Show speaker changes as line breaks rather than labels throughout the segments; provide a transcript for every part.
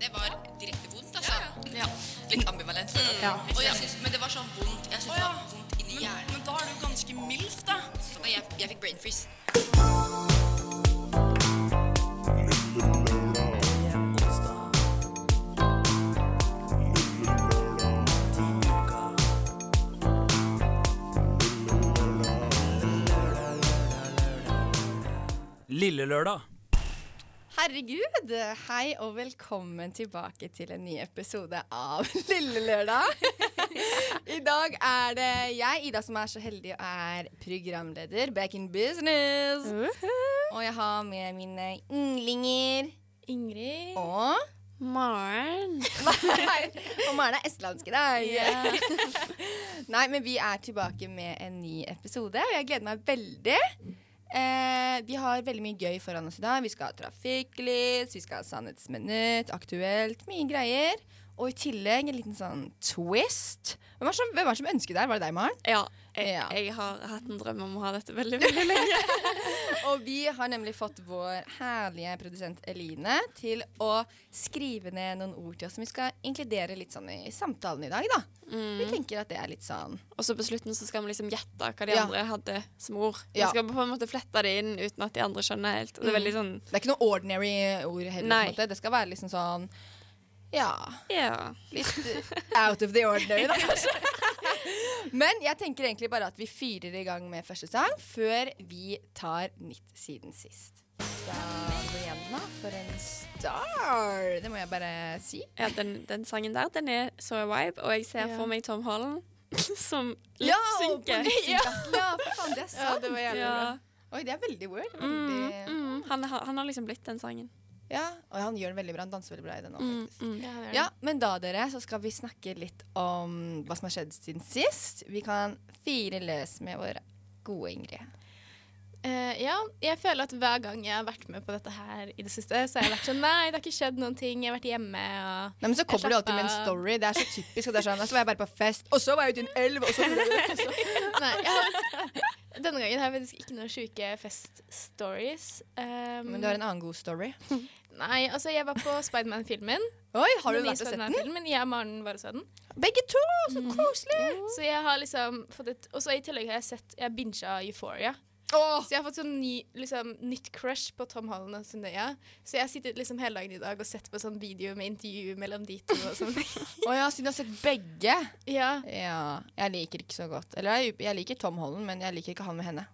det var direkte vondt, altså.
Ja.
Litt ambivalent.
Mm.
føler jeg.
Ja.
Og jeg synes, men det var sånn vondt. Jeg synes det var vondt inni
Men,
hjernen.
men da er du ganske milf, da.
Og jeg, jeg fikk brain freeze.
Lille lørdag.
Herregud! Hei og velkommen tilbake til en ny episode av Lille Lørdag. I dag er det jeg, Ida, som er så heldig og er programleder back in business. Og jeg har med mine ynglinger
Ingrid.
og
Maren.
Og Maren er estlandsk i dag. Nei, men vi er tilbake med en ny episode, og jeg gleder meg veldig. Eh, vi har veldig mye gøy foran oss i dag. Vi skal ha trafikklys, vi skal ha Sannhetsminutt, aktuelt, mye greier. Og i tillegg en liten sånn twist. Hvem var det som, hvem var det som ønsket det her? Var det deg, Maren?
Ja, jeg,
Ja.
jeg har hatt en drøm om å ha dette veldig veldig lenge.
Og vi har nemlig fått vår herlige produsent Eline til å skrive ned noen ord til oss som vi skal inkludere litt sånn i samtalen i dag, da. Vi tenker at det er litt sånn
Og så på slutten så skal vi liksom gjette hva de
Ja.
andre hadde som ord. Vi
Ja. Mm.
skal på en måte flette det inn uten at de andre skjønner helt. Og det er veldig sånn
Det er ikke noe ordinary ord heller.
Nei.
På en måte. Det skal være liksom sånn Ja.
Ja.
Litt eh, out of the ordinary, da, kanskje. Men jeg tenker egentlig bare at vi fyrer i gang med første sang før vi tar nytt siden sist. Så Brianna, for en star! Det må jeg bare si.
ja den, den sangen der, den er så vibe, og jeg ser
Ja.
for meg Tom Holland som
Ja, og på
lipsynker.
lipsynk, ja, for faen, det er sant.
eh. Ja.
Oi, det er veldig weird.
Mm,
Veldig,
mm. Han, har- han har liksom blitt den sangen.
ja. Og han gjør den veldig bra. Han danser veldig bra i den òg,
Mm,
faktisk.
mm.
Ehm.
Ja, men da dere, så skal vi snakke litt om hva som har skjedd siden sist. Vi kan fire løs med vår gode Ingrid.
Eh, ja, jeg føler at hver gang jeg har vært med på dette her i det siste, så har jeg vært sånn Nei, det har ikke skjedd noen ting. Jeg har vært hjemme og
Nei, men Så kommer du
Jeg slapp
alltid med en
av.
story. Det er så typisk. Og det er sånn, så var jeg bare på fest, og så var jeg ute i en elv, og så
Nei, jeg har, denne gangen har jeg faktisk ikke noen sjuke feststories. Um,
Men du har en annen god story.
Nei, altså, jeg var på Spiderman-filmen.
Oi, har du
Den nye
vært
Mm.
og sett den?
Spiderman-filmen. Jeg og Maren var og så den.
Begge to! Så koselig!
Så jeg har liksom fått et Og så i tillegg har jeg sett Jeg bincha Euphoria.
Åh,
Så jeg har fått sånn ny, liksom, nytt crush på Tom Holland og Zendaya. Så jeg har sittet liksom hele dagen i dag og sett på sånn video med intervju mellom de to og sånn.
Å ja, siden du har sett begge.
ja.
Ja, Jeg liker ikke så godt. Eller jeg, jeg liker Tom Holland, men jeg liker ikke han med henne.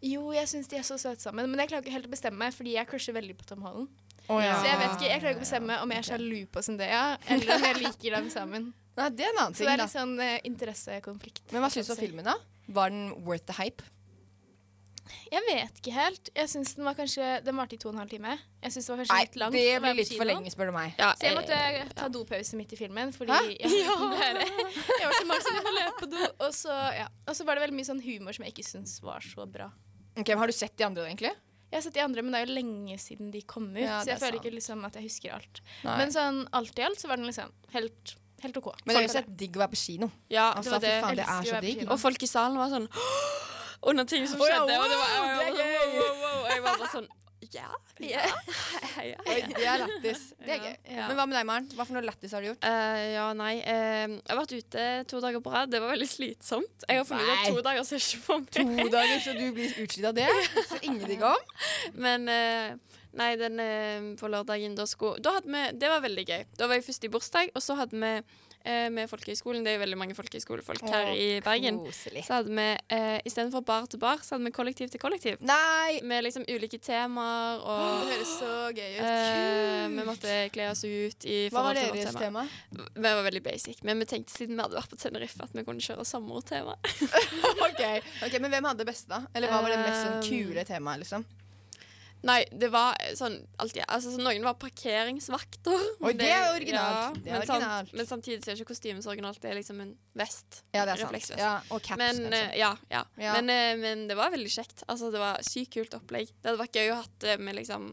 Jo, jeg syns de er så søte sammen, men jeg klarer ikke helt å bestemme meg, fordi jeg crusher veldig på Tom Holland.
Å, ja.
Så jeg vet ikke, jeg klarer ikke å bestemme om jeg er sjalu på Zendaya, eller om jeg liker dem sammen.
Nei, Det er en annen
Så
ting,
det er
da.
litt sånn eh, interessekonflikt.
Men hva syns du om filmen, da? Var den worth the hype?
Jeg vet ikke helt. Jeg syns den var kanskje Den varte i to og en halv time. Jeg syns det var kanskje litt langt.
det
å være på
blir litt for
kino.
lenge, spør du meg.
Ja,
Så jeg
eh,
måtte ta dopause midt i filmen, fordi
Hæ?
jeg, jeg var så mange som ville løpe på do. Og så, ja. og så var det veldig mye sånn humor som jeg ikke syns var så bra.
Ok, men Har du sett de andre, egentlig?
Jeg har sett de andre, men det er jo lenge siden de kom ut,
Ja,
så
det er
jeg føler
sant.
ikke liksom at jeg husker alt.
Nei.
Men sånn alt i alt så var den liksom helt, helt OK.
Men det er
Sånn
jo sett digg å være på kino.
Ja,
Altså,
det var
fy
det.
faen, det er
elsker å
så
være på
digg.
kino.
Og folk i salen var sånn under ting som
Å ja,
skjedde. og det var,
wow,
jeg,
det
var
er
sånn, wow, wow, wow. Og jeg var bare sånn Ja. ja, ja,
Oi,
ja.
det er lættis. Det er
Ja,
gøy.
ja.
Men hva med deg, Maren? Hva for noe lættis har du gjort?
Eh, ja, nei. eh, jeg har vært ute to dager på rad. Det var veldig slitsomt. Jeg har funnet ut at
Nei.
to dager ser ikke for meg.
To dager, så du blir utslitt av det? Så ingen digg om?
Men eh, nei, den eh, på lørdagen da skulle Da hadde vi Det var veldig gøy. Da var jeg først i bursdag, og så hadde vi eh, med folkehøyskolen. Det er jo veldig mange folkehøyskolefolk her i Bergen.
Koselig.
Så hadde vi eh, istedenfor bar til bar, så hadde vi kollektiv til kollektiv.
Nei!
Med liksom ulike temaer og
Det høres så gøy ut.
Eh, vi måtte kle oss ut i
Hva var
forhold til
deres
vårt tema.
tema?
Vi var veldig basic, men vi tenkte siden vi hadde vært på Tenerife at vi kunne kjøre sommertema.
Ok, ok, Men hvem hadde det beste, da? Eller hva var det mest sånn
Um,
kule temaet, liksom?
Nei, det var eh, sånn alltid, altså, så Noen var parkeringsvakter.
Oi,
men
det er originalt. Det er
men, samt-
originalt.
men samtidig så er ikke kostymet så originalt. Det er liksom en vest.
Ja, det er sant.
refleksvest.
Ja, og caps,
Men,
kanskje.
eh, ja, ja.
Ja.
Men, eh, men det var veldig kjekt. Altså, det var sykt kult opplegg. Det hadde vært gøy å ha det med liksom,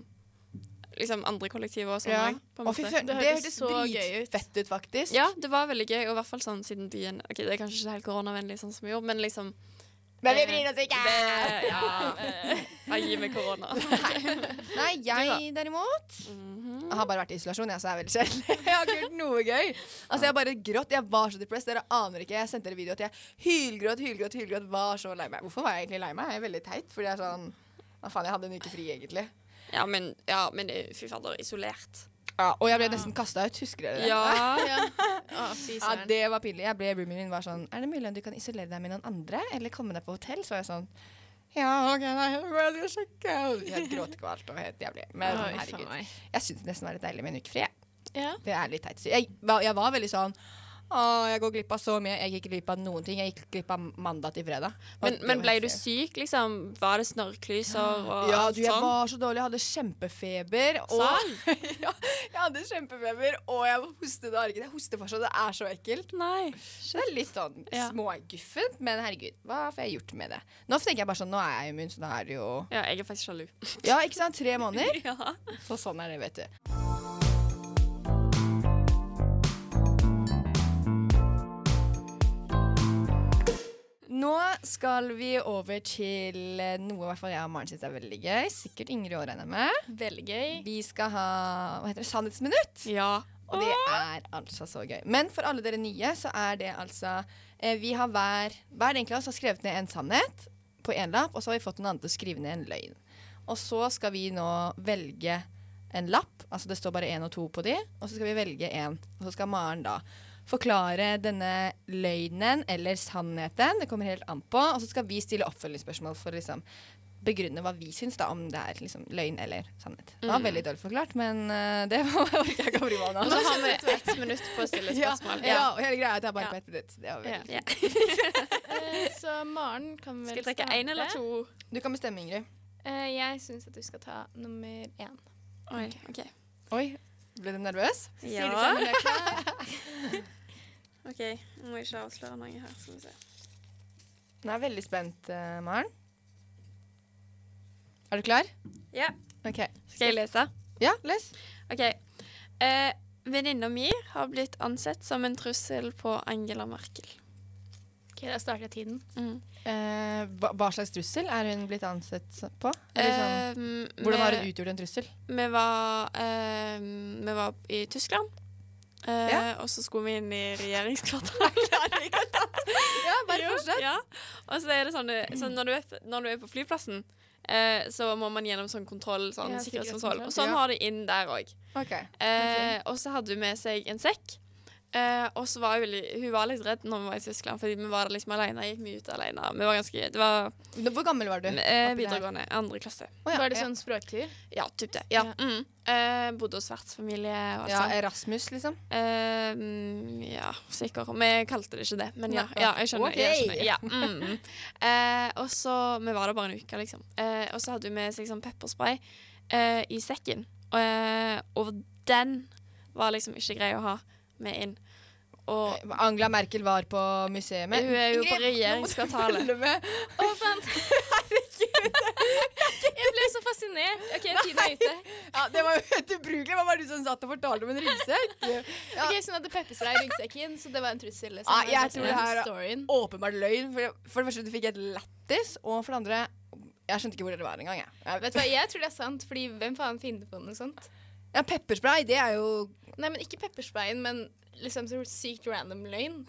liksom andre kollektiver og sånn
Ja.
òg.
Å, fy søren, det
Det høres
hørtes
så gøy ut.
dritfett ut, faktisk.
Ja, det var veldig gøy, og i hvert fall sånn siden byen Ok, det er kanskje ikke helt koronavennlig sånn som vi gjorde, men liksom
Men vi bryr oss ikke!
det, Ja, eh, jeg gir meg korona.
Nei, jeg derimot Jeg har bare vært i isolasjon, jeg, så det er veldig kjedelig. Jeg har ikke gjort Mhm. noe gøy. Altså, jeg har bare grått. Jeg var så depressed. Dere aner ikke. Jeg sendte dere video at jeg hylgråt, hylgråt, hylgråt. Var så lei meg. Hvorfor var jeg egentlig lei meg? Jeg er veldig teit. Fordi jeg er sånn Hva faen, jeg hadde en uke fri, egentlig.
Ja, men, ja, men det- fy fader, isolert.
Ja, og jeg ble nesten kasta ut. Husker dere det?
Ja.
Ja. Å, fy
Ja,
søren.
det var pinlig. Jeg ble roomien min var sånn Er det mulig at du kan isolere deg med noen andre, eller komme deg på hotell? Så var jeg sånn Ja, OK, nei, jeg går aldri og sjekker. Helt gråtkvalt og helt jævlig. Men
Oi, faen
herregud.
meg.
Jeg syns det nesten var litt deilig med en uke fri, jeg.
Ja.
Det er litt teit. å si. Jeg, var- jeg var veldig sånn Å, jeg går glipp av så mye. Jeg gikk glipp av noen ting. Jeg gikk glipp av mandag til fredag. Og
Men,
det
men
var
ble
helt
du
fair.
syk, liksom? Var det snørrklyser og
Ja,
alt
du, jeg
sånn?
var så dårlig. Jeg hadde kjempefeber. Og, ja, jeg hadde kjempefeber, og jeg hostet og arket. Jeg hoster fortsatt. Det er så ekkelt.
Nei.
Så det er litt sånn
Ja.
småguffent, men herregud, hva får jeg gjort med det? Nå tenker jeg bare sånn, nå er jeg immun, så da er det jo
Ja, jeg er faktisk sjalu.
Ja, ikke sant? Tre måneder.
Ja.
Så sånn er det, vet du. Nå skal vi over til eh, noe i hvert fall jeg og Maren syns er veldig gøy. Sikkert Ingrid òg, regner jeg med.
Veldig gøy.
Vi skal ha hva heter det, sannhetsminutt.
ja.
Og det er altså så gøy. Men for alle dere nye, så er det altså eh, Vi har hver Hver enkelt av oss har skrevet ned en sannhet på én lapp, og så har vi fått noen andre til å skrive ned en løgn. Og så skal vi nå velge en lapp. Altså det står bare én og to på de, og så skal vi velge én. Og så skal Maren da forklare denne løgnen eller sannheten. Det kommer helt an på. Og så skal vi stille oppfølgingsspørsmål for å liksom begrunne hva vi syns da om det er liksom løgn eller sannhet. Det var veldig dårlig forklart, men eh, det var ikke jeg kan bry meg om.
Og så har vi ett minutt på å stille
liksom.
spørsmål.
Ja, ja, og hele greia er at jeg bare
Ja.
på ett minutt. Det var
Ja.
veldig-
Eh, Så Maren kan vel
Skal jeg trekke én eller to?
starte?
Du kan bestemme, Ingrid.
Eh, Jeg syns at du skal ta nummer én.
Oi, ok.
Oi, ble du nervøs?
Ja. OK, nå må jeg ikke avsløre noe her. Skal vi se.
Nå er jeg veldig spent, eh, Maren. Er du klar?
Ja.
Ok.
Skal jeg lese?
Ja, les.
OK. Eh, Venninna mi har blitt ansett som en trussel på Angela Merkel.
Ok, Da starter jeg tiden.
Eh, hva, hva slags trussel er hun blitt ansett så- på? Eller sånn,
Eh, mm,
hvordan har
vi-
hun utgjort en trussel?
Vi var, eh, vi var i Tyskland. Eh,
Ja.
Og så skulle vi inn i regjeringskvartalet.
Ja,
Jo, ja. Og så er det sånn, eh, sånn når, du er, når du er på flyplassen, eh, så må man gjennom sånn kontroll, sånn
Ja,
sikkerhetskontroll.
sikkerhetskontroll.
Og sånn
Ja.
har de inn der òg.
Ok.
Eh, og så hadde hun med seg en sekk. Eh, og så var hun, veldig- hun var litt redd når vi var i Tyskland, fordi vi var der liksom alene. Gikk mye ut alene. Vi var ganske, det var
Nå, Hvor gammel var du?
eh,
oppi det her?
videregående. Andre klasse.
Å, ja,
Var det
ja.
sånn språktur?
Ja, typ det. Ja.
Ja.
Mm. Eh, bodde hos vertsfamilie og alt
Ja,
sånt.
Erasmus, liksom?
Eh, mm, ja, sikkert. Vi kalte det ikke det, men ja.
Nei.
ja jeg skjønner. Jeg
Ok.
skjønner. Ja, mm. eh, og så, Vi var der bare en uke, liksom. Eh, og så hadde hun med seg sånn pepperspray eh, i sekken. Og, eh, og den var liksom ikke grei å ha med inn. Og
Angela Merkel var på museet med
hun er jo på
Ingrid, nå må du
regjeringskvartalet.
følge med.
Å, faen! Jeg ble så fascinert. OK, tiden er ute.
Ja, Det var jo helt ubrukelig. Hva var det du som satt og fortalte om en ryggsekk? Ja.
Ok, sånn Så hun hadde pepperspray i ryggsekken, så det var en trussel? liksom.
Ah, jeg
var
tror
sånn
det her-
storyen.
åpenbart løgn. For, for det første, du fikk et lættis, og for det andre Jeg skjønte ikke hvor dere var engang. Jeg. Jeg
Vet du hva, jeg tror det er sant, fordi hvem faen finner på noe sånt?
ja, pepperspray, det er jo
Nei, men ikke peppersprayen, men liksom så sykt random løgn.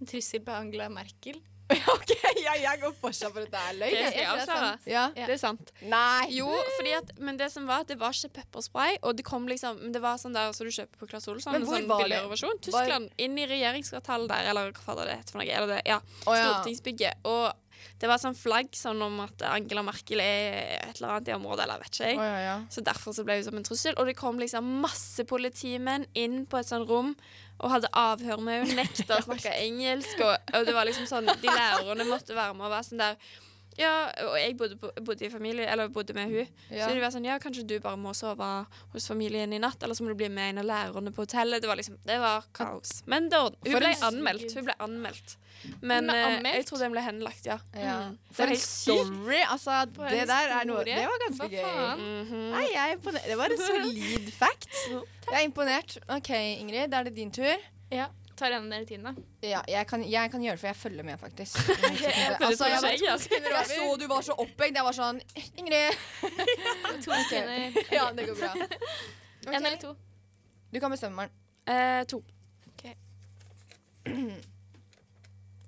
En trussel på Angela Merkel.
OK, ja, jeg går fortsatt for at det er løgn.
Det
jeg.
skal jeg
tror det er
avsløre.
sant.
Ja.
Ja.
Det er sant.
Nei.
Jo, fordi at, men det som var at det var ikke pepperspray, og det kom liksom men Det var sånn der som du kjøper på Claes Olsson,
Men
en
hvor
sånn
var det?
billigere versjon. Tyskland. Inn i regjeringskvartalet der, eller hva fader det heter for noe. Eller det, ja.
Å, ja.
Stortingsbygget. Og det var sånn flagg sånn om at Angela Merkel er et eller annet i området, eller vet ikke
Å,
jeg.
ja, ja.
Så derfor så ble hun som en trussel. Og det kom liksom masse politimenn inn på et sånn rom og hadde avhør med henne. Nekta å snakke engelsk. Og, og det var liksom sånn De lærerne måtte være med og være sånn der ja, og jeg bodde, på, bodde i familie, eller bodde med hun.
Ja.
Så de var sånn, ja, kanskje du bare må sove hos familien i natt, eller så må du bli med en av lærerne på hotellet. Det var liksom, det var kaos. Men det ord- hun
For
ble
en-
anmeldt. Hun ble anmeldt. Men
ble
eh,
anmeldt?
jeg tror den ble henlagt, ja.
Ja.
Mm. Det
For
er
en
helt sykt.
story! Altså, det
en
der er noe
historie.
Det var ganske
Hva
gøy.
faen?
Nei, jeg er imponert. Det var en solid fact. Jeg er imponert. OK, Ingrid, da er det din tur.
Ja. Tar en av dere tiden, da?
Ja, jeg kan, jeg kan gjøre det, for jeg følger med, faktisk.
Men det
altså,
tror
jeg,
ikke
var,
jeg, altså.
jeg så du var så opphengt. Jeg var sånn Ingrid!
To sekunder.
Ja, det går bra.
En eller to.
Du kan bestemme, Maren.
Eh, to.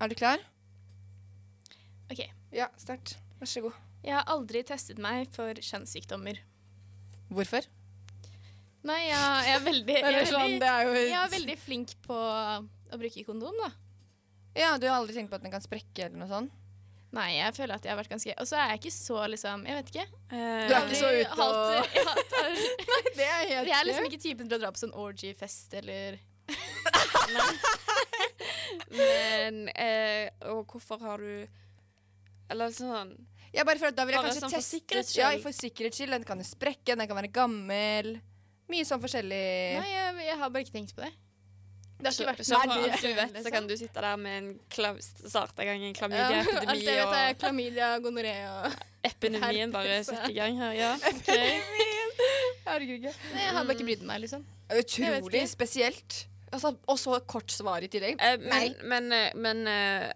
Er du klar?
Ok.
Ja, start. Vær så god.
Jeg har aldri testet meg for kjønnssykdommer.
Hvorfor? sånn,
Nei, jeg, jeg er veldig jeg er veldig,
er jo
jeg er veldig flink på å bruke kondom, da.
Ja, du har aldri tenkt på at den kan sprekke eller noe sånt?
Nei, jeg føler at jeg har vært ganske Og så er jeg ikke så liksom Jeg vet ikke.
Eh,
Du er ikke så
Aldri
ute og-
hatt- jeg hater-
Det er helt
Jeg er liksom ikke typen til å dra på sånn orgy-fest eller
Men eh, Og hvorfor har du Eller sånn
Ja, bare for at da vil jeg
Bare
kanskje
sånn for
teste
sikkerhets
Ja,
skyld.
for sikkerhets skyld. Den kan jo sprekke, den kan være gammel. Mye sånn forskjellig
Nei, jeg, jeg har bare ikke tenkt på det. Det har
Så,
ikke vært
så for
Nei,
alt du vet, så
liksom.
kan du sitte der med en klam, starte i gang en
Ja, Alt
klamydia-epidemi,
jeg vet, er
og
klamydia, gonoré og
epidemien bare
herpes, ja.
setter i gang her. Ja, ok.
Herregud. ja.
Nei, Jeg har bare ikke brydd meg, liksom. Jeg vet
Utrolig
ikke.
spesielt. Altså, og så kort svar i tillegg.
Eh,
Nei.
men men, eh, men eh,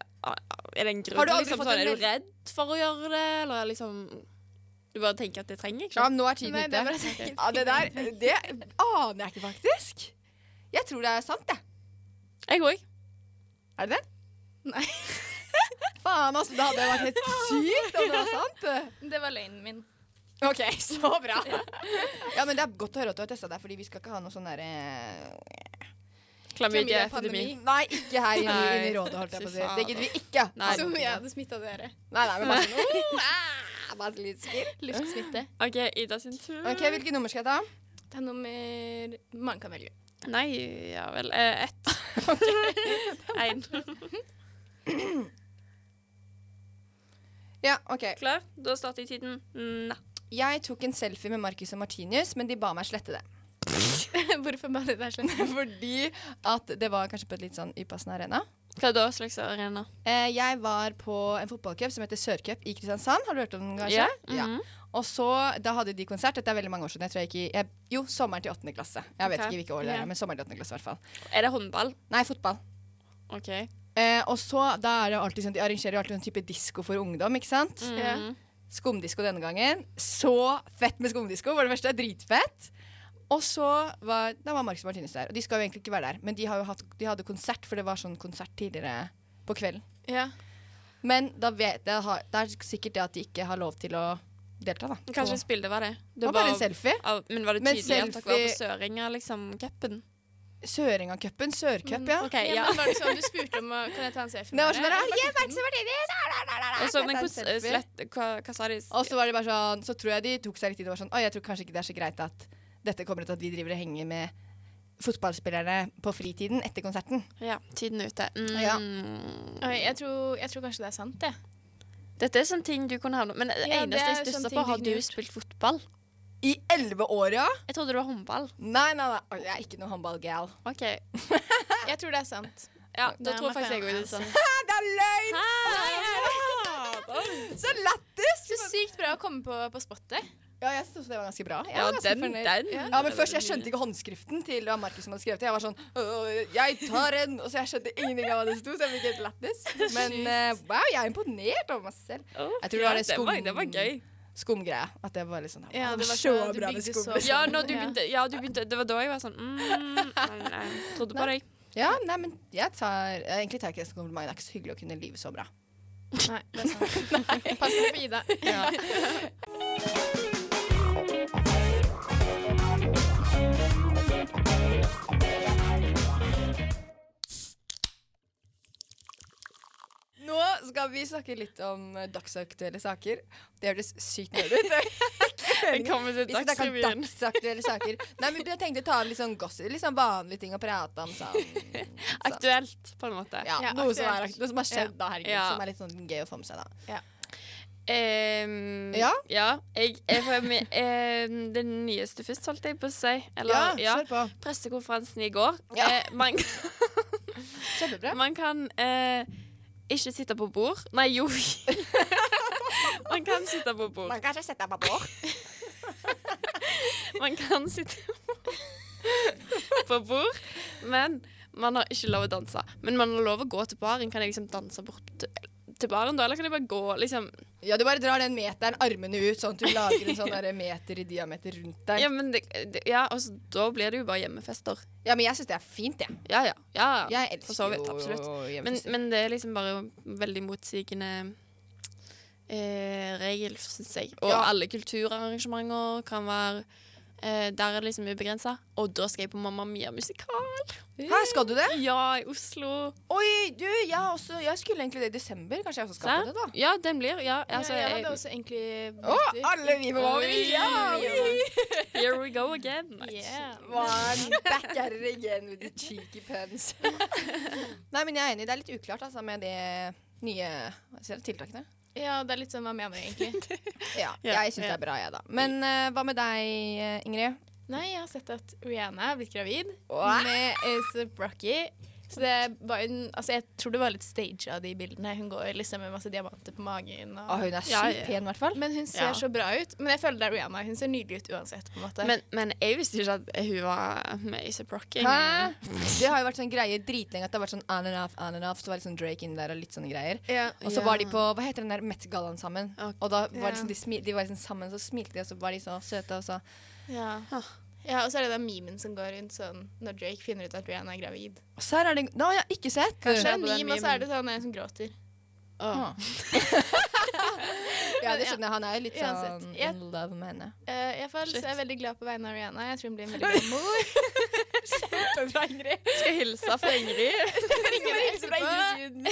er det en grunn?
Har du aldri
liksom,
fått
sånn,
en
er du
meld-
redd for å gjøre det, eller er liksom Du bare tenker at det trenger jeg
Ja,
ikke?
nå er tiden
Nei, det
ute.
er bare å tenke.
Ja, det der det aner jeg ikke faktisk. Jeg tror det er sant, jeg.
Jeg òg.
Er det det?
Nei.
Faen, altså. Det hadde vært helt sykt om det var sant.
Det var løgnen min.
OK, så bra. Ja, men Det er godt å høre at du har testa deg, Fordi vi skal ikke ha noe sånn derre
Eh,
Klamydia-epidemi.
Nei, ikke her inne i-
Nei.
inne i rådet, holdt jeg på å
Fy
si.
faen,
Det gidder vi ikke. Altså,
Nei.
Som jeg hadde smitta dere.
Nei, nei, men bare sånn oh, ah, Bare sånn litt skritt.
Luftsmitte.
OK, Ida sin tur.
OK, hvilket nummer skal jeg ta?
Det er nummer Man kan velge.
Nei, ja vel. eh, Ett. Én.
Ja, OK.
Klar? Da starter jeg tiden. Nei.
Jeg tok en selfie med Marcus og Martinius, men de ba meg slette det.
Hvorfor bare det er sånn?
Fordi at det var kanskje på et litt sånn upassende arena.
Hva da slags arena?
Eh, jeg var på en fotballcup som heter Sørcup i Kristiansand. Har du hørt om den, kanskje? Ja.
Mhm.
Og så, Da hadde de konsert. Dette er veldig mange år siden. Jeg tror jeg gikk i, jeg, jo, sommeren til åttende klasse. Jeg vet
Ok.
ikke hvilke år det
Ja.
er, men sommeren til åttende klasse i hvert fall.
Er det håndball?
Nei, fotball.
OK.
Eh, og så, da er det jo alltid sånn, De arrangerer jo alltid sånn type disko for ungdom, ikke sant?
Mm.
Ja.
Skumdisko denne gangen. Så fett med skumdisko! Var det første. Dritfett. Og så var, da var Marcus og Martinus der. Og de skal jo egentlig ikke være der, men de, har jo hatt, de hadde konsert, for det var sånn konsert tidligere på kvelden.
Ja.
Men da vet jeg, har- det er sikkert det at de ikke har lov til å delta, da.
Hva
På-
slags bilde var det?
det var bare en selfie.
av, men var det
Men
tydelig at dere var på
selfie-
Søringa, liksom? Cupen?
Søringa-cupen. Sørcup, ja.
Ok,
Ja,
ja.
men var det sånn du spurte om å- Kan jeg ta en selfie
Mm, Det var sånn
deg?
der,
Jeg bare
«Yeah,
tok den.
Marcus og Martinus, ah, la, la, la, la».
Og så,
Jeg
men
tar en
hvordan eh,
selfie.
slett hva, hva sa de?
Og så var det bare sånn, så tror jeg de tok seg litt tid og var sånn Å, jeg tror kanskje ikke det er så greit at dette kommer ut at vi driver og henger med fotballspillerne på fritiden etter konserten.
Ja, tiden er ute. Mm.
Ja.
Oi, jeg, tror, jeg tror kanskje det er sant, det.
Dette er sånne ting du kunne havne Men det
Ja,
eneste
det
jeg
er sånne
stusser
ting
på,
du
har
kunne
du
gjort.
spilt fotball?
I elleve år, ja?
Jeg trodde det var håndball.
Nei, nei, nei. Å, Jeg er ikke noe håndballgal.
OK.
Jeg tror det er sant.
Ja,
Nei,
da tror
men
faktisk jeg
faen,
òg det.
altså.
Sånn.
Nei, det er løgn!
Hæ?
Så lættis!
Så sykt bra å komme på, på spottet.
Ja, jeg syntes det var ganske bra. Jeg
Ja,
var ganske
den,
fornøyd.
den.
Ja, men først, Jeg skjønte ikke håndskriften til det var Markus som hadde skrevet det. Jeg var sånn «Øh, Jeg tar en! Og så jeg skjønte ingenting av hva det sto, så jeg fikk helt lættis. Men eh, wow, jeg er imponert over meg selv.
Åh,
Jeg tror det
ja,
var det
den var,
skum-
det var gøy.
Skumgreia. At det var litt sånn
Ja,
«Å,
det
så
var sånn, du
bra med
bygde
skum.
så-
liksom».
Ja, når du
Ja.
begynte, ja, du begynte Det var da jeg var sånn mm, nei, nei, jeg Trodde på deg.
Ja, nei, men jeg tar jeg Egentlig tar jeg ikke det som kompliment. Det er ikke så hyggelig å kunne lyve så bra.
Nei, det er sant. Pass deg for Ida.
Nå skal vi snakke litt om eh, dagsaktuelle saker. Det høres sykt nødvendig ut. Det er ikke meningen.
Velkommen til
Vi skal snakke om
Dagsrevyen.
dagsaktuelle saker. Nei, men Jeg tenkte ta litt sånn gossip, litt sånn vanlige ting å prate om. Sånn.
Aktuelt, på en måte.
Ja,
Ja,
noe, som er,
aktuelt.
noe som har skjedd, da, herregud.
Ja.
Som er litt sånn gøy å få med seg, da.
Ehm,
Ja?
jeg, jeg får med ehm, det nyeste først, holdt jeg på å si. Eller, ja,
kjør på.
Pressekonferansen i går.
Ja.
Eh, man,
Kjempebra.
man kan eh, ikke sitte på bord. Nei, jo. man kan sitte på bord.
Man kan ikke sette meg på.
Man kan sitte på bord, men man har ikke lov å danse. Men man har lov å gå til baren. Kan jeg liksom danse bort til baren da, eller kan jeg bare gå? Liksom,
Ja, du bare drar den meteren, armene ut, sånn at du lager en sånn der meter i diameter rundt deg.
Ja, men det, det, ja, altså, da blir det jo bare hjemmefester.
Ja, men jeg syns det er fint, jeg.
Ja, ja. ja
Jeg
for
elsker
så vidt.
jo
Absolutt. Men,
hjemmefester.
men det er liksom bare veldig motsigende eh, regel, syns jeg. Og
Ja.
alle kulturarrangementer kan være eh, Der er det liksom ubegrensa. Og da skal jeg på Mamma Mia-musikal!
Hæ, skal du det?
Ja, i Oslo.
Oi, du, jeg, også, jeg skulle egentlig det i desember. Kanskje jeg også skal
Sant?
på det, da.
Ja, den blir. Ja, altså,
ja, jeg
jeg,
hadde også egentlig
Å, alle vi på
Oi.
Mamma Mia!
Here we go again. Nice.
Yeah.
One back at it again with the cheeky puns. Nei, men jeg er enig. Det er litt uklart altså, med de nye hva sier jeg, tiltakene.
Ja, det er litt sånn hva mener jeg egentlig.
Ja,
Ja,
jeg syns det
ja.
er bra, jeg, da. Men eh, hva med deg, eh, Ingrid?
Nei, jeg har sett at Rihanna er blitt gravid
Wow.
med A$AP Rocky. Så det var jo en, altså jeg tror det var litt staged av de bildene. Hun går liksom med masse diamanter på magen. Og,
Å, hun er
Ja,
sykt
ja.
pen, i hvert fall.
Men hun
Ah,
ser
Ja.
så bra ut. Men jeg føler det er Rihanna. Hun ser nydelig ut uansett. på en måte.
Men, men jeg visste ikke at hun var med i A$AP Rocky.
Hæ? Det har jo vært sånn greie dritlenge at det har vært sånn on and off, on and off. Så var det sånn Drake inn der og litt sånne greier.
ja.
Og så
Ja.
var de på hva heter den der Met Gallaen sammen.
Ok.
Og da var det
Ja.
sånn, de, smi, de var liksom sammen, så smilte de, og så var de så søte, og så
Ja.
Ah.
ja, Og så er det den memen som går rundt sånn når Drake finner ut at Rihanna er gravid.
Og så her er det Nå har jeg ikke sett!
Så
Kanskje-
er det
på
en
den
meme, og så
memen.
er det sånn en som gråter.
Åh.
Ja, det skjønner jeg. Han er jo litt
Uansett,
sånn
jeg-
in love med henne.
Eh, i hvert fall så
Shit.
er jeg veldig glad på vegne av Rihanna. Jeg tror hun blir en veldig god mor.
Skal jeg hilse fra Ingrid?
Ringer
Ringer
etterpå.
fra innsiden.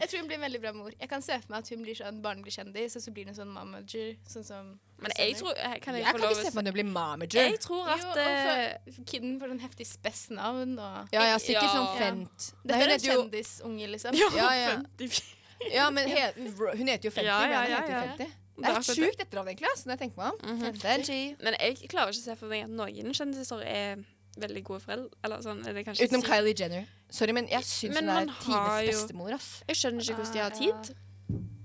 Jeg tror hun blir en veldig bra mor. Jeg kan se for meg at hun blir sånn barn blir kjendis, og så blir hun sånn mamager. Sånn som
Men jeg tror eh, Kan jeg
Jeg
få
kan
lov å
ikke se
si
på at du blir mamager.
Jeg tror
Jo,
at
og
eh,
for- Kidden får sånn heftig spessnavn og
Ja, ja, sikkert
Ja.
sånn Fent. Nei, hun
Dette er en
heter jo
kjendisunge, liksom.
Ja, ja.
54.
Ja, men he, hun heter jo 50.
Ja, ja,
Rihanna
ja,
heter jo
ja.
50.
Det er
Det er et
akkurat
sjukt etternavn, egentlig. ass, Når jeg tenker meg om.
Mhm.
Benji.
Men jeg klarer ikke å se for meg at noen kjendiser er veldig gode foreldre. Eller sånn, er det kanskje
Utenom
sykt?
Kylie Jenner. Sorry, men jeg syns
Men
hun er
man har
tidenes
jo-
bestemor. ass.
Jeg skjønner ikke hvordan de har
Ah, ja.
tid.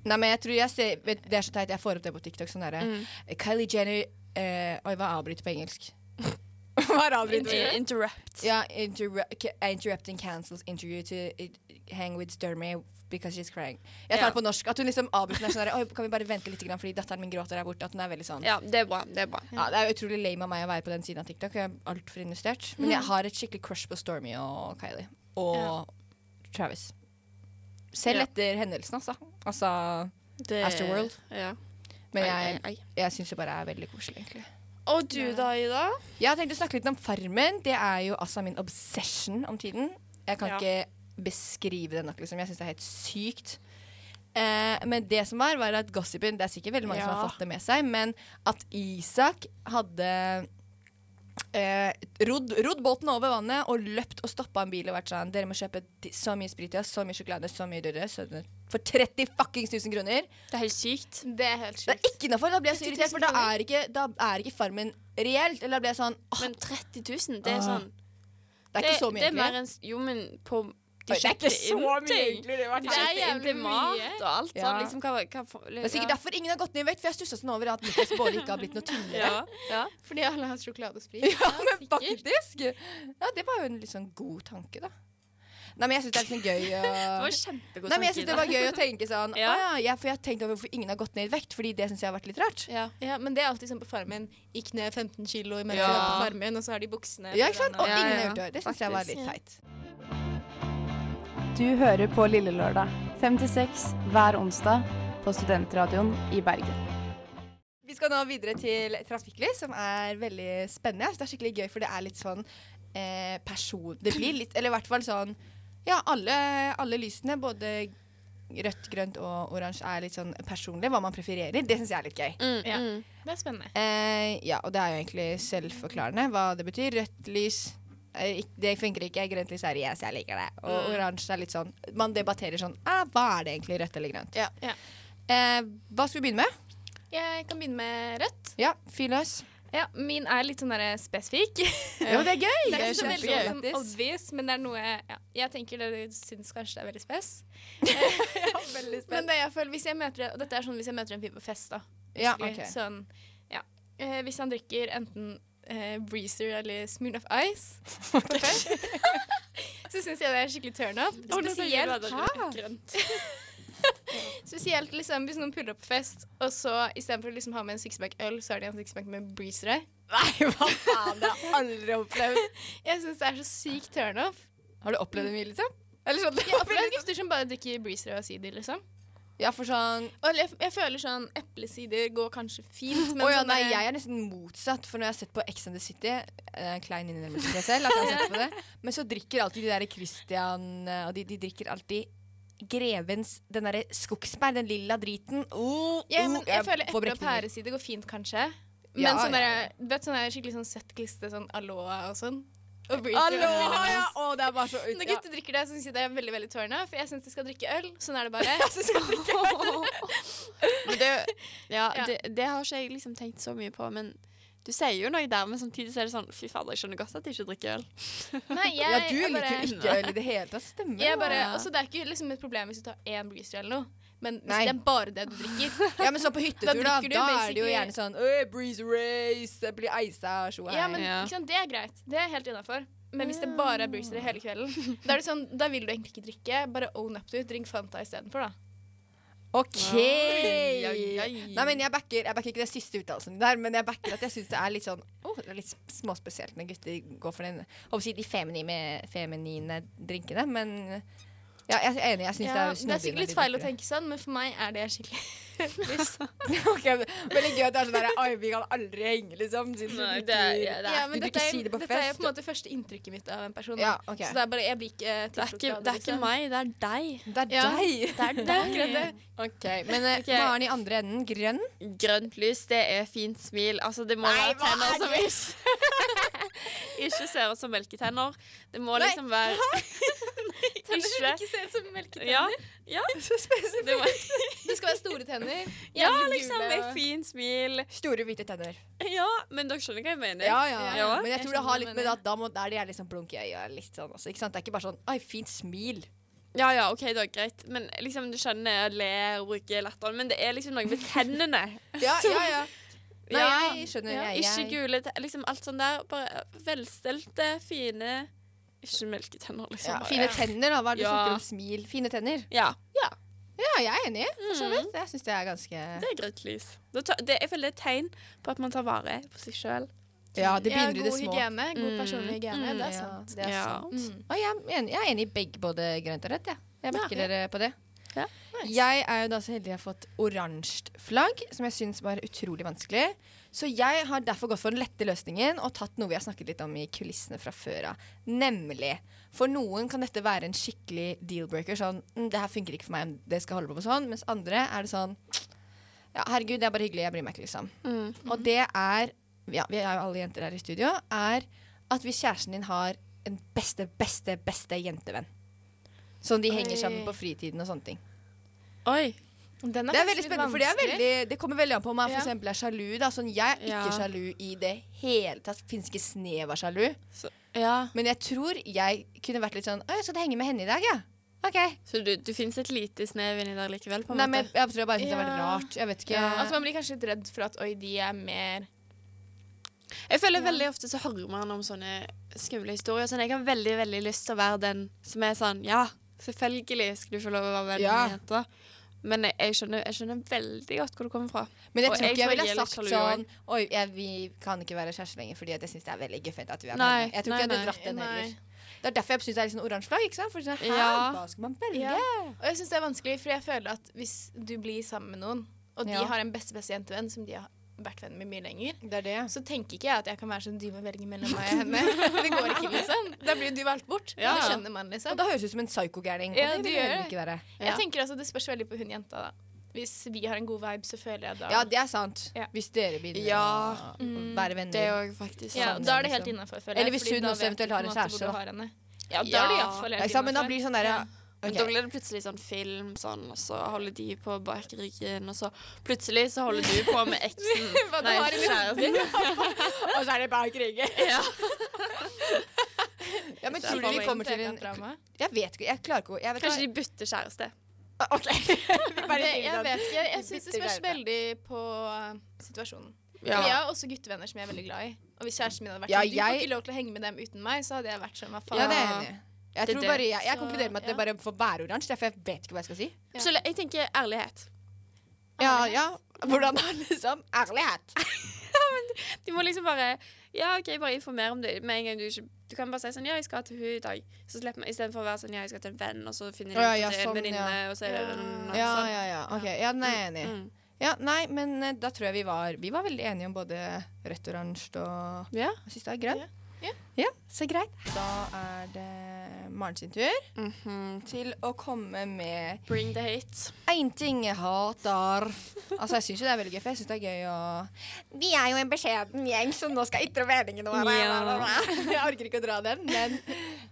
Nei, men jeg tror jeg ser, vet, Det er så teit, jeg får opp det på TikTok. sånn derre
Mm.
Kylie Jenner eh, Oi, hva er avbryter på engelsk? hva er avbryter?
Inter- Interrupt.
Ja, interru ca- interrupting cancels interview to it, hang with Sturmy because she's crying. Jeg tar
Ja.
det på norsk. At hun liksom avbryter meg sånn der, Oi, kan vi bare vente litt grann, fordi datteren min gråter der borte. At hun er veldig sånn
Ja, det er bra. Det er bra.
Ja, Det er jo utrolig lame av meg å være på den siden av TikTok. Jeg er altfor investert. Men
Mm.
jeg har et skikkelig crush på Stormy og Kylie. Og
Ja.
Travis. Selv
Ja.
etter hendelsen, altså. Altså
Det,
Astroworld.
Ja.
Men
Ai,
jeg,
ai, ai.
jeg syns det bare er veldig koselig, egentlig.
Og du da, Ida?
Jeg har tenkt å snakke litt om Farmen. Det er jo altså min obsession om tiden. Jeg kan
Ja.
ikke beskrive det nok, liksom. Jeg syns det er helt sykt. Eh, men det som var, var at gossipen Det er sikkert veldig mange som
Ja.
har fått det med seg, men at Isak hadde eh, rodd, rodd båten over vannet og løpt og stoppa en bil og vært sånn Dere må kjøpe di- så mye sprit, ja, så mye sjokolade, så mye dødre, så dødre for 30 fuckings 1000 kroner.
Det er helt sykt.
Det er helt
Det er
sjukt.
ikke innafor! Da blir jeg så irritert, for da er ikke, da er ikke Farmen reelt. Eller da blir jeg sånn åh,
Men 30 000, det er
Ah.
sånn
Det er ikke så mye,
det er
egentlig.
mer enn s- Jo, men på
Oi,
de
det er ikke
kjøpte
så
inn
mye,
ting.
egentlig. Det var
Det er
jævlig
jævlig
mye.
mat og alt
Ja.
sånn. Liksom, hva, hva, for-
Det er sikkert derfor ingen har gått ned i vekt, for jeg stussa sånn over at Niklas Baarli ikke har blitt noe tynnere.
Ja, ja.
Fordi alle har hatt sjokolade og sprit.
Ja, men
sikkert.
faktisk! Ja, det var jo en litt sånn god tanke, da. Nei, men jeg syns det er litt sånn gøy å
Det var kjempegod
Nei, men jeg synes det var gøy å tenke sånn
Ja.
«Å ja, jeg, For jeg har tenkt over hvorfor ingen har gått ned i vekt, fordi det syns jeg har vært litt rart.
Ja.
Ja, men det er alltid sånn på Farmen. Gikk ned 15 kilo imens
Ja.
jeg var på Farmen, og så har de buksene
Ja, ikke sant? Og
Ja, ja,
ingen
ja.
har gjort det. Det syns jeg var litt
Faktisk.
teit.
Du hører på Lille Lørdag, 56 hver onsdag på Studentradioen i Bergen.
Vi skal nå videre til trafikklys, som er veldig spennende. Jeg synes Det er skikkelig gøy, for det er litt sånn eh, person... Det blir litt, eller i hvert fall sånn Ja, alle, alle lysene, både rødt, grønt og oransje, er litt sånn personlig. Hva man prefererer. Det syns jeg er litt gøy.
Mm,
Ja.
mm.
Det er spennende.
Eh, ja, og det er jo egentlig selvforklarende hva det betyr. Rødt lys eh, ikk- det funker ikke. Grønt lys er yes, jeg liker det. Og
Mm.
oransje er litt sånn Man debatterer sånn eh, Hva er det egentlig, rødt eller grønt?
Ja.
Ja.
Eh, hva skal vi begynne med?
Jeg kan begynne med rødt.
Ja, fyr løs.
Ja, min er litt sånn der spesifikk.
Jo, det er gøy!
Det er
Jeg
ikke så
skjønner
veldig
det.
sånn obvious, men det er noe ja, jeg tenker dere syns kanskje det er veldig spes. Men det jeg føler, hvis jeg møter, og dette er sånn hvis jeg møter en fyr på fest, da.
Ja,
Eller
ok.
Sånn, ja. Eh, hvis han drikker enten eh, Breezer eller Smirnoff Ice på fest, så syns jeg det er skikkelig turn up.
Spesielt
Spesielt,
grønt.
Spesielt liksom, hvis noen puller opp på fest, og så istedenfor å liksom, ha med en sixpack øl, så har de en sixpack med breezere.
Nei, hva faen? Det har jeg aldri opplevd.
Jeg syns det er så sykt turnoff.
Har du opplevd det mye, liksom? Eller sånn,
Jeg opplever gutter som bare drikker breezere og sider, liksom.
Ja, for sånn
Og jeg, jeg føler sånn eplesider går kanskje fint, men
Å ja,
sånn
nei,
der-
jeg er nesten motsatt. For når jeg har sett på Ex and the City eh, Klein innrømmelse til jeg selv, at jeg har sett på det. Men så drikker alltid de der Christian eh, Og de, de drikker alltid Grevens Den derre skogsbær, den lilla driten. Oh,
Ja,
oh,
men jeg
får
føler eple- og
brekninger.
pæresider går fint, kankanskje. Men
Ja,
sånn
ja,
derre
ja.
du vet, sånn der skikkelig sånn søtt gliste, sånn aloha og sånn. Og breezer og
Aloha,
vanilla.
ja! Å, det er bare så ut,
Når
ja.
gutter drikker det, så syns jeg det er veldig veldig tårna. For jeg syns de skal drikke øl. Sånn er det bare.
Men det, ja,
Ja.
Det, det har ikke jeg liksom tenkt så mye på, men du sier jo noe der, men samtidig så er det sånn Fy fader, jeg skjønner godt at de ikke drikker øl.
Nei, jeg,
Ja, du
jeg
liker
bare,
jo ikke øl i det hele tatt. Stemmer
Jeg bare,
Ja.
altså, det er ikke liksom et problem hvis du tar én breezer eller noe, men hvis
Nei.
det er bare det du drikker
Ja, men så på hyttetur,
Da
da, da
drikker du
er det jo
basically-
gjerne sånn «Øy, Breeze race, jeg blir eisa og tjo og
Ja,
hei».
men
Ja.
ikke sant, Det er greit. Det er helt innafor. Men hvis det bare er breezer hele kvelden, da, er det sånn, da vil du egentlig ikke drikke. Bare own up to it. Drink Fanta istedenfor, da.
OK!
Oi, oi, oi.
Nei, men jeg backer, jeg backer ikke den siste uttalelsen din der, men jeg backer at jeg syns det er litt sånn oh, det er litt sp- småspesielt når gutter går for den håper å si de feminine, feminine drinkene, men ja, jeg er enig. Jeg syns det
Ja,
er
det er
snodig. når
sikkert litt
de
feil å
drikker det.
tenke sånn, men for meg er det skikkelig
Ok, Veldig gøy at det er sånn der Oi, vi kan aldri henge, liksom. siden du
Nei, det
drikker-
er- ja, det
Ja, men
Du vil
dette
ikke
er,
si det på
dette er
fest.
på en måte første inntrykket mitt av en person.
Ja,
da.
ok.
Så det er bare, jeg blir ikke
Det er
eh,
ikke,
tiltrukket av
det er ikke
liksom.
meg, det er deg.
Det er
Ja.
deg.
Det er deg.
Akkurat det.
Ok, Men eh,
Ok.
Maren i andre enden, grønn.
Grønt lys, det er fint smil. Altså, det må
Nei,
være
hva
tenner
er
som ikke Ikke ser ut som melketenner. Det må
Nei.
liksom være Ikke
Ikke se ut som melketenner.
Ja. ja. Det må,
Det skal være store tenner.
ja,
jævlig
liksom.
gule
Med
og-
fint smil.
Store, hvite tenner.
Ja, men dere skjønner hva jeg mener?
Ja, ja.
Ja,
Men jeg
jeg
tror det
skjønner
har
hva du
litt med
mener.
at da må, da er det gjerne liksom blunk i øyet. Litt sånn også, ikke sant? Det er ikke bare sånn Oi, fint smil.
Ja, ja, ok, da, greit. Men liksom, du skjønner jeg ler og bruker latteren, men det er liksom noe med tennene.
Ja, ja, ja. Nei,
Ja.
jeg skjønner.
Ja,
jeg,
ikke
jeg.
gule te- Liksom alt sånn der. Bare velstelte, fine Ikke melketenner, liksom.
Ja,
bare.
fine tenner, da. Hva er det du
Ja.
snakker om? Smil. Fine tenner.
Ja,
Ja, jeg er enig. For så vidt. Jeg syns det er ganske
det er grønt lys. Da tar- Det, jeg føler det er et tegn på at man tar vare på seg sjøl.
Ja, det
Ja,
begynner i det
god
små.
hygiene. God
Mm.
personlig hygiene.
Mm,
Det
Ja,
er sant.
det er
Ja.
sant. Og jeg, er enig, jeg er enig i begge, både grønt og rødt. jeg. Jeg backer dere på det.
Ja.
Jeg er jo da så heldig jeg har fått oransje flagg, som jeg syns var utrolig vanskelig. Så jeg har derfor gått for den lette løsningen og tatt noe vi har snakket litt om i kulissene fra før av. Nemlig. For noen kan dette være en skikkelig deal-breaker. Sånn mm, 'Det her funker ikke for meg, det skal holde på med sånn.' Mens andre er det sånn ja, 'Herregud, det er bare hyggelig. Jeg bryr meg ikke', liksom.
Mm.
Og det er ja, Vi er jo alle jenter her i studio. Er at hvis kjæresten din har en beste, beste, beste jentevenn. Som de henger sammen på fritiden og sånne ting.
Oi.
Den
Det er
faktisk
veldig
litt
spennende, for det, er
vanskelig.
veldig, det kommer veldig an på om man
Ja.
for eksempel er sjalu. Da. Sånn, jeg er ikke
Ja.
sjalu i det hele tatt. Fins ikke snev av sjalu.
Ja.
Men jeg tror jeg kunne vært litt sånn Å, jeg skal henge med henne i dag, ja. OK.
Så du, du fins et lite snev inni der likevel, på en
Nei, men
måte?
jeg, jeg tror jeg bare syns det var litt
Ja.
rart. Jeg vet ikke.
Ja.
Altså, man blir kanskje litt redd for at oi, de er mer
Jeg føler veldig ofte så hører man om sånne skumle historier. Sånn, jeg har veldig veldig lyst til å være den som er sånn Ja, selvfølgelig skal du få lov å være venn
Ja.
med jenta. Men jeg, jeg, skjønner, jeg skjønner veldig godt hvor du kommer fra.
Men jeg
Og
tror
jeg
ikke jeg
tror
ville
jeg
ha
er litt
sagt
sjalu
sånn Oi, jeg, vi kan ikke være kjærester lenger fordi at jeg syns det er veldig guffent at vi er
Nei,
venner. Jeg tror ikke jeg
nei,
hadde
nei.
dratt den
Nei.
heller. Det er derfor jeg syns det er litt sånn oransje flagg. ikke sant? For sånn, her,
Ja.
Hva skal man velge?
Ja. Og jeg syns det er vanskelig, for jeg føler at hvis du blir sammen med noen, og de
Ja.
har en beste beste jentevenn som de har vært venn med mye lenger,
Det er det.
så tenker ikke jeg at jeg kan være sånn du må velge mellom meg og henne. Det går ikke, liksom. Da blir du valgt bort.
Ja.
Det skjønner man, liksom.
Og da høres det ut som en psykogærning.
Ja,
og
du
det vil jeg
gjør
heller ikke være.
Ja.
Jeg tenker altså, Det spørs veldig på hun jenta. da. Hvis vi har en god vibe, så føler jeg da
Ja, det er sant.
Ja.
Hvis dere begynner
Ja. Mm.
å være venner.
Det òg, faktisk.
Ja,
sånn,
Da er det
liksom.
helt innafor.
Eller hvis hun også eventuelt har en kjæreste, da.
Ja, da er det iallfall
Nei,
helt
sant, men da
innenfor.
blir det sånn derre
Ja.
Men Da blir det plutselig sånn film, sånn, og så holder de på bak ryggen, og så plutselig så holder du på med eksen.
Hva du har i
kjæresten.
Og så er det bak ryggen.
Ja.
Ja, men
Så er
tror
det
du vi
bare
kommer til en
TV-drama.
Jeg vet ikke. Jeg klarer ikke å jeg vet
Kanskje de bytter kjæreste.
hva- OK. Vi bare
Det,
sier sånn.
jeg
det.
vet ikke. Jeg syns det
Bytter
spørs
verden.
veldig på eh, situasjonen.
Ja.
For Jeg har også guttevenner som jeg er veldig glad i. Og hvis kæresten min hadde vært
Ja,
sånn, du
jeg-
får ikke lov til å henge med dem uten meg, så hadde jeg vært sånn, hva faen.
Ja, det er jeg enig i. Jeg
Det
tror
er
bare,
det,
jeg, jeg
så-
konkluderer med at det
ja.
bare får være oransje, derfor jeg vet ikke hva jeg skal si.
Ja.
Så jeg tenker ærlighet.
Ja, ja. Hvordan er liksom Ærlighet.
De må liksom bare Ja, OK, bare informere om det med en gang du ikke Du kan bare si sånn Ja, jeg skal til hun i dag. Så slipper man Istedenfor å være sånn Ja, jeg skal til en venn, og så finner de
Å, ja,
ut
ja,
at det er
sånn,
en venninne,
ja.
og så er det
Ja.
noen
Ja,
sånn.
ja, ja. Ok, ja, den er jeg enig i.
Mm.
Ja, nei, men eh, da tror jeg vi var Vi var veldig enige om både rødt, oransje og
Ja.
Jeg syns det er grønn.
Ja.
ja, så greit. Da er det Maren sin tur Mhm, til å komme med
Bring the hate.
én ting jeg hater. Altså, jeg syns jo det er veldig gøy, for jeg syns det er gøy å Vi er jo en beskjeden gjeng som nå skal ytre meningene våre.
Ja.
Jeg orker ikke å dra den, men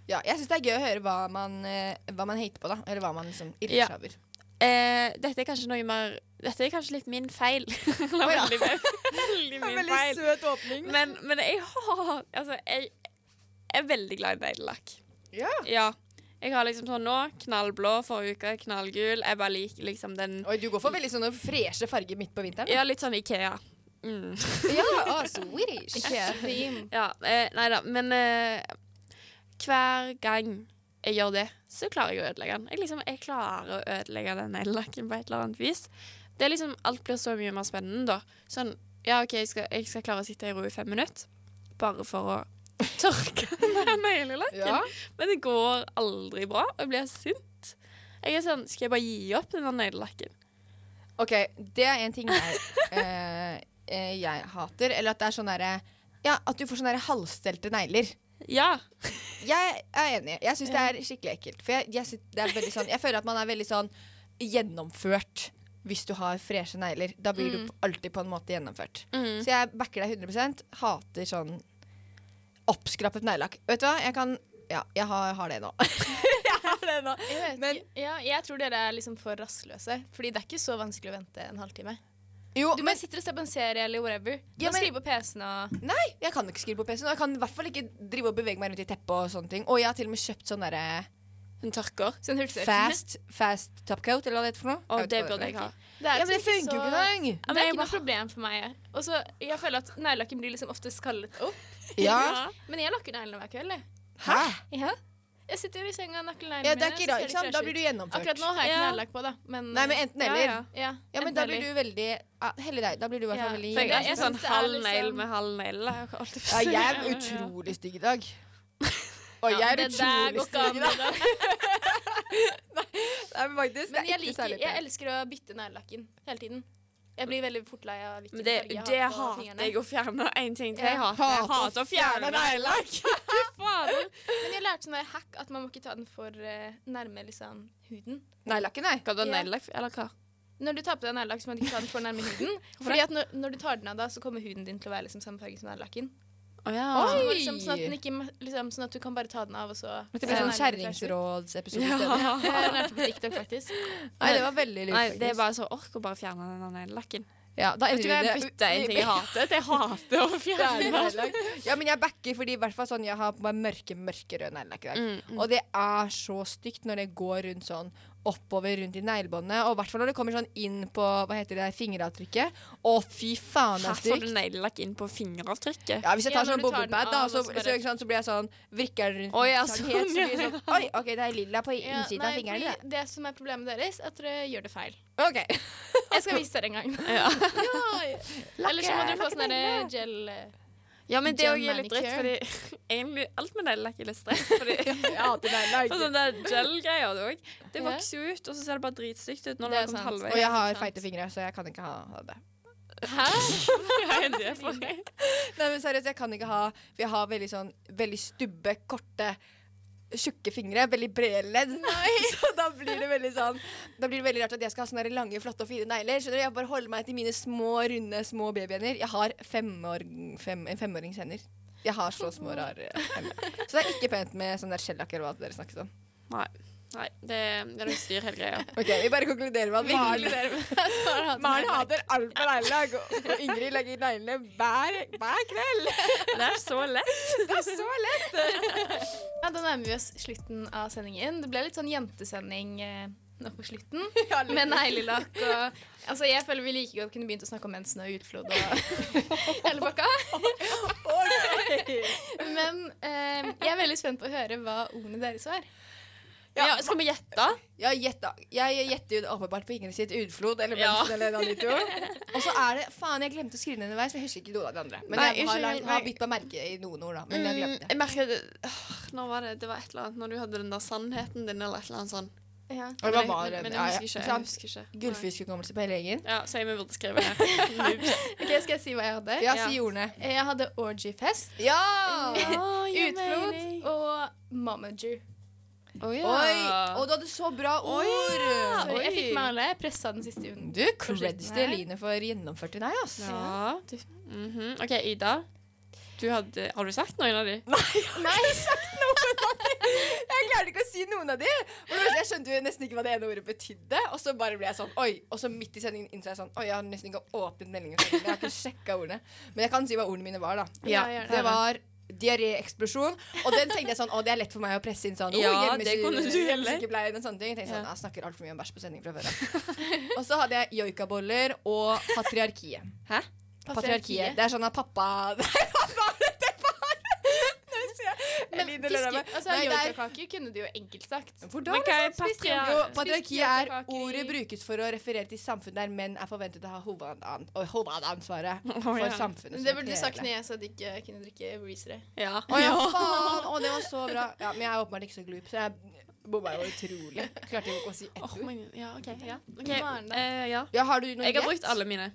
ja, jeg syns det er gøy å høre hva man, eh, hva man hater på, da. Eller hva man liksom irrer
Ja.
seg over.
Eh, dette er kanskje noe mer Dette er kanskje litt min feil. Eller
ja.
veldig, veldig min feil.
søt åpning.
Men, men jeg har Altså, jeg er veldig glad i neglelakk.
Ja.
Ja. Jeg har liksom sånn nå, knallblå forrige uke, knallgul. Jeg bare liker liksom den
Oi, du går for veldig sånne freshe farger midt på vinteren.
Ja, litt sånn Ikea. Mm.
ja å, Swedish.
Theme.
Ja, eh, nei da, men eh, hver gang jeg gjør det, så klarer jeg å ødelegge den. Jeg, liksom, jeg klarer å ødelegge den neglelakken på et eller annet vis. Det er liksom, alt blir så mye mer spennende da. Sånn, ja, ok, jeg skal, jeg skal klare å sitte i ro i fem minutter, bare for å tørke den neglelakken.
Ja.
Men det går aldri bra, og jeg blir sint. Jeg er sånn, skal jeg bare gi opp den der neglelakken?
OK, det er en ting jeg, eh, eh, jeg hater. Eller at det er sånn derre Ja, at du får sånne derre halvstelte negler.
Ja,
Jeg er enig. Jeg syns det er skikkelig ekkelt. For jeg, jeg, syns det er veldig sånn, jeg føler at man er veldig sånn gjennomført hvis du har freshe negler. Da blir
Mm.
du p- alltid på en måte gjennomført. Så jeg backer deg 100 Hater sånn oppskrappet neglelakk. Vet du hva, jeg kan Ja, jeg har, har det nå.
Jeg vet
Men-
ikke. ja, jeg tror dere er liksom for rastløse. Fordi det er ikke så vanskelig å vente en halvtime.
Jo,
Du
men
bare sitter og ser på en serie eller whatever.
Ja,
Ja,
men-
Skrive på PC-en og
Nei, jeg kan ikke skrive på PC-en. Og jeg kan i hvert fall ikke drive og bevege meg rundt i teppet og sånne ting. Og jeg har til og med kjøpt sånn derre
hun tørker.
sånn hurtigtørking.
fast, fast topcoat, eller hva det heter for noe.
Og
vet
det
ikke hva
burde jeg
heter.
ha.
Det er
Ja, men det
liksom ikke
funker jo
så-
ikke engang!
Ja, men det er
jeg
ikke noe problem for meg. jeg. Og så, Jeg føler at neglelakken blir liksom ofte skallet opp.
Ja.
Men jeg lakker neglene hver kveld. jeg.
Hæ?
Ja. Jeg sitter jo i senga og nakker neglene
Ja, det er
mine,
ikke
så
rart,
ser
ikke sant?
trash
Da blir
ut.
du gjennomført.
Akkurat nå har jeg ikke
Ja.
neglelakk på, da. Men, eh,
Nei, men enten eller. Ja,
ja,
men
enten
da blir
eller.
du veldig ah, Hellig deg, da blir du i hvert fall
Ja,
veldig
For jeg er
Jeg
ikke sånn
synes det er
halv
liksom-
negl med halv negl. Jeg har alltid
Ja, jeg er
Ja, ja.
utrolig stygg i dag. Og
Ja,
jeg er
det der
utrolig
går ikke an,
stygg i dag.
da.
Nei, men faktisk, det
Men
er
jeg,
ikke
liker,
særlig
jeg
pent.
elsker å bytte neglelakken hele tiden. Jeg blir veldig fort lei av hvilken
Men det,
farge
det
jeg har på
hater
fingrene.
jeg å fjerne. En ting til
Ja.
jeg hater. Jeg hater å fjerne neglelakk. Fy fader.
Men jeg lærte sånn der hack at man må ikke ta den for eh, nærme liksom, huden.
Nei, lakken, nei.
Skal du ha
Ja.
neglelakk, eller hva?
Når du tar på deg neglelakk, så må du ikke ta den for nærme huden. Fordi at når, når du tar den av da, så kommer huden din til å være liksom, samme farge som neglelakken.
Å ja.
Så det var
Oi!
Liksom, sånn, at den ikke, liksom, sånn at du kan bare ta den av, og så
Det blir sånn
Nei, det blir trash ut.
kjerringsrådsepisode. i stedet.
ja.
Jeg lærte på TikTok, faktisk.
Nei, det var veldig lurt.
Nei, det er
faktisk.
bare så ork å bare fjerne den neglelakken.
ja, da
Vet du hva,
endrer
jeg
vi det.
bytter en ting jeg hater. til Jeg hater å fjerne
Ja, men jeg backer fordi i hvert fall sånn Jeg har på meg mørke, mørkerød neglelakk i dag.
Mm, mm.
Og det er så stygt når det går rundt sånn oppover rundt i neglebåndet. Og i hvert fall når det kommer sånn inn på hva heter det, der, fingeravtrykket. Å, fy faen, det
Her
er
får du
stygt.
neglelakk inn på fingeravtrykket.
Ja, hvis jeg tar
Ja, når
sånn
du tar den
boblebad, da,
av,
så,
og så
så,
bare-
ikke sant, så blir jeg sånn Vrikker den rundt
Å, ja,
sånn,
sånn,
helt, så blir
ja.
det sånn Oi, OK, det er lilla på
Ja,
innsiden av
nei,
fingeren.
fordi det som er problemet deres, er at dere gjør det feil.
da. OK.
Jeg skal vise dere en gang.
Ja.
Eller så må dere få sånn der gel... eh.
ja, men det
Gel
òg er litt dritt, fordi
manicure.
egentlig alt med neglelakk er litt stress. Fordi
Jeg hater
For
neglelakk.
sånn der gel-greier det òg. Det
Ja.
vokser jo ut, og så ser det bare dritstygt ut når
Det
det
er
har kommet
sant.
Og
halvveis.
jeg har feite fingre, så jeg kan ikke ha ha det.
Hæ?
Hva er det for noe?
Nei, men seriøst, jeg kan ikke ha For jeg har veldig sånn Veldig stubbe, korte Tjukke fingre, veldig brede ledd. Så da blir det veldig sånn Da blir det veldig rart at jeg skal ha sånne der lange, flotte og fine negler. Skjønner du? Jeg bare holder meg til mine små, runde, små babyhender. Jeg har femåring, fem, en femårings hender. Jeg har så små, rare hender. Så det er ikke pent med sånn der skjellakk eller hva dere snakket om.
Nei. Nei, det, det er noe styr hele greia.
Ok, Vi bare konkluderer med at Maren- Maren hater alt med neglelakk, og og Ingrid legger neglene hver, hver kveld.
Det er så lett.
Det er så lett!
Ja, da nærmer vi oss slutten av sendingen. Det ble litt sånn jentesending eh, nå på slutten. Med neglelakk og Altså, jeg føler vi like godt kunne begynt å snakke om mensen og utflod og hele pakka.
Å, Gud.
Men eh, jeg er veldig spent på å høre hva ordene deres var.
Ja. skal vi gjette?
Ja, gjett da. Jeg gjetter jo åpenbart på Ingrid sitt utflod eller mensen eller en av de to. Og så er det Faen, jeg glemte å skrive det underveis, for jeg husker ikke noen av de andre. Men
Nei,
jeg har,
unnskyld,
lagt-
nei.
har bytt på merke i noen ord, da. Men jeg
Mm,
glemte det.
jeg merker det Åh, Nå var det Det var et eller annet når du hadde den der sannheten din, eller et eller annet sånn.
Ja.
Og det var bare
men, men
ja, ja,
jeg husker ikke. Jeg
sant?
husker ikke. Nei.
Gullfiskhukommelse på hele gjengen.
Ja, så jeg vi burde skrevet det.
Ok, Skal jeg si hva jeg hadde?
Ja, si ordene.
Jeg hadde orgiefest,
Ja!
utflod og momager.
Å ja.
Oi! Og du hadde så bra
ja.
ord!
Så jeg
Oi.
fikk med alle. Pressa den siste uken.
Du, creds til Eline for gjennomført i deg, ass.
Ja. Mhm. OK, Ida. Du hadde, har du sagt noen av de?
Nei, sagt noen av de. Jeg klarte ikke å si noen av de. For det første, Jeg skjønte jo nesten ikke hva det ene ordet betydde. Og så bare ble jeg sånn, oi. Og så midt i sendingen innså jeg sånn, oi, jeg har nesten ikke åpnet meldingen. for Jeg har ikke sjekket ordene. Men jeg kan si hva ordene mine var, da.
Ja, gjerne.
det var diaréeksplosjon. Og den tenkte jeg sånn, å, det er lett for meg å presse inn sånn.
Ja, det kunne du heller.
Hjemmesykepleien og sånne ting. Jeg tenkte sånn, jeg snakker altfor mye om bæsj på sending fra før av. Og så hadde jeg joikaboller og patriarkiet.
Hæ?
Patriarkiet. Det er sånn at pappa Hva var det det var? Nå ser jeg.
Men
Elin lurer
fiske,
meg.
altså,
Nei, det er-
Yoghurtkake kunne du jo enkelt sagt.
Hvordan
Men hva er
liksom spiste-
patriar-
Jo,
sånn spiste
patriarkiet er
kaker i-
ordet brukes for å referere til samfunn der menn er forventet å ha hovedan- og hovedansvaret
Å, ja.
for samfunnet.
Det burde du sagt når jeg sa at jeg ikke kunne drikke breezere.
Ja.
Å ja, faen! Å, det var så bra. Ja, men jeg er åpenbart ikke så glup, så jeg bomma jo utrolig. Klarte ikke å si ett
Åh,
ord.
men- ja, OK. Ja. Ok,
Maren, da?
eh, ja.
Ja, har du noe
Jeg har
gjett?
brukt alle mine.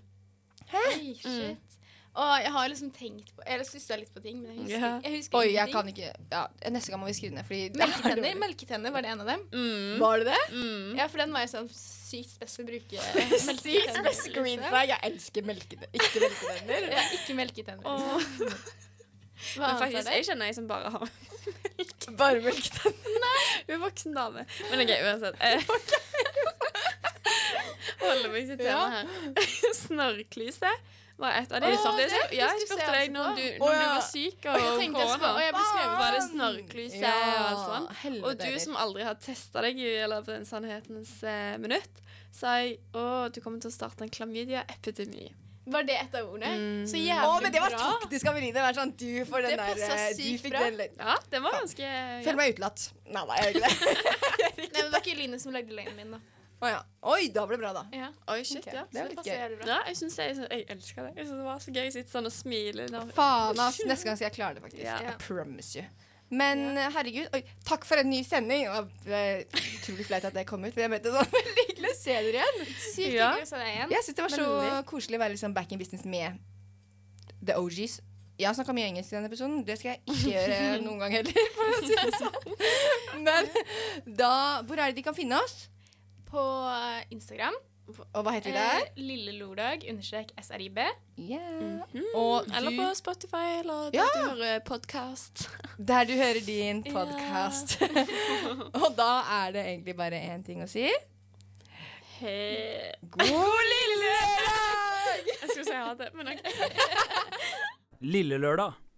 Oi, shit. Og jeg har liksom tenkt på Eller stussa litt på ting, men jeg husker,
Ja.
jeg husker
Oi,
ingenting.
jeg kan ikke ja, Neste gang må vi skrive ned, fordi
Melketenner, melketenner var det en av dem.
Mm.
Var det det?
Mm.
Ja, for den var jo sånn sykt spesiell bruke.
Sykt
melketenner,
spesiell green
liksom.
flag. Jeg elsker melketenner. Ikke melketenner.
Ja, ikke melketenner. Liksom.
Åh, men
Hva annet
faktisk,
var det?
jeg kjenner ei som bare har
Bare melketenner.
Hun er voksen dame. Men OK, uansett. Eh. Holder meg til temaet her. Snørrklyse var et av de.
Å, det
Det-
husker
ja, jeg
jeg
spurte
også
deg
på.
når du,
Å,
når du
ja.
var syk og
Jeg tenkte jeg skulle, og
korona.
jeg ble skrevet
Var det snørrklyse og alt sånn? Og du som aldri har testa deg i- eller på den sannhetens eh, minutt, sa jeg å, du kommer til å starte en klamydia-epidemi.
Var det et av ordene?
Mm.
Så
Å,
jævlig
men det var
bra.
taktisk av Eline. Vær sånn, du får den
Det
der
passet
eh, Du
sykt
fikk
bra.
den litt.
Ja, den var ganske ja.
Føler meg utelatt. Nei, nei, jeg gjør ikke det.
Nei, men det var ikke Line som lagde løgnen min, da.
Å, ja. Oi, da ble det bra, da.
Ja.
Oi, shit,
Ok,
ja.
Det var
det
litt
passer
gøy.
jævlig bra.
ja. Jeg syns jeg, jeg elsker det. Jeg synes det var så gøy å sitte sånn og smile. når-
Faen, ass. Neste gang skal jeg klare det, faktisk.
Ja.
I promise you. Men eh, herregud, oi, takk for en ny sending. Det var eh, utrolig flaut at det kom ut, men jeg mente det var veldig hyggelig å se dere igjen.
Ja.
Sykt hyggelig å se deg igjen.
Jeg syns det var så
Veldig.
koselig å være liksom back in business med the OGs. Jeg har snakka mye engelsk i denne episoden. Det skal jeg ikke gjøre noen gang heller. For å si det sånn. Men da Hvor er det de kan finne oss?
På eh, Instagram.
Og hva heter vi der?
eh, Lille Lordag understrek SRIB.
Yeah. Og du,
Eller på Spotify, eller der
Ja.
du hører podkast.
der du hører din podkast. og da er det egentlig bare én ting å si.
Hei.
God lille lørdag!
Jeg skulle si ha det, men OK.
Lille lørdag.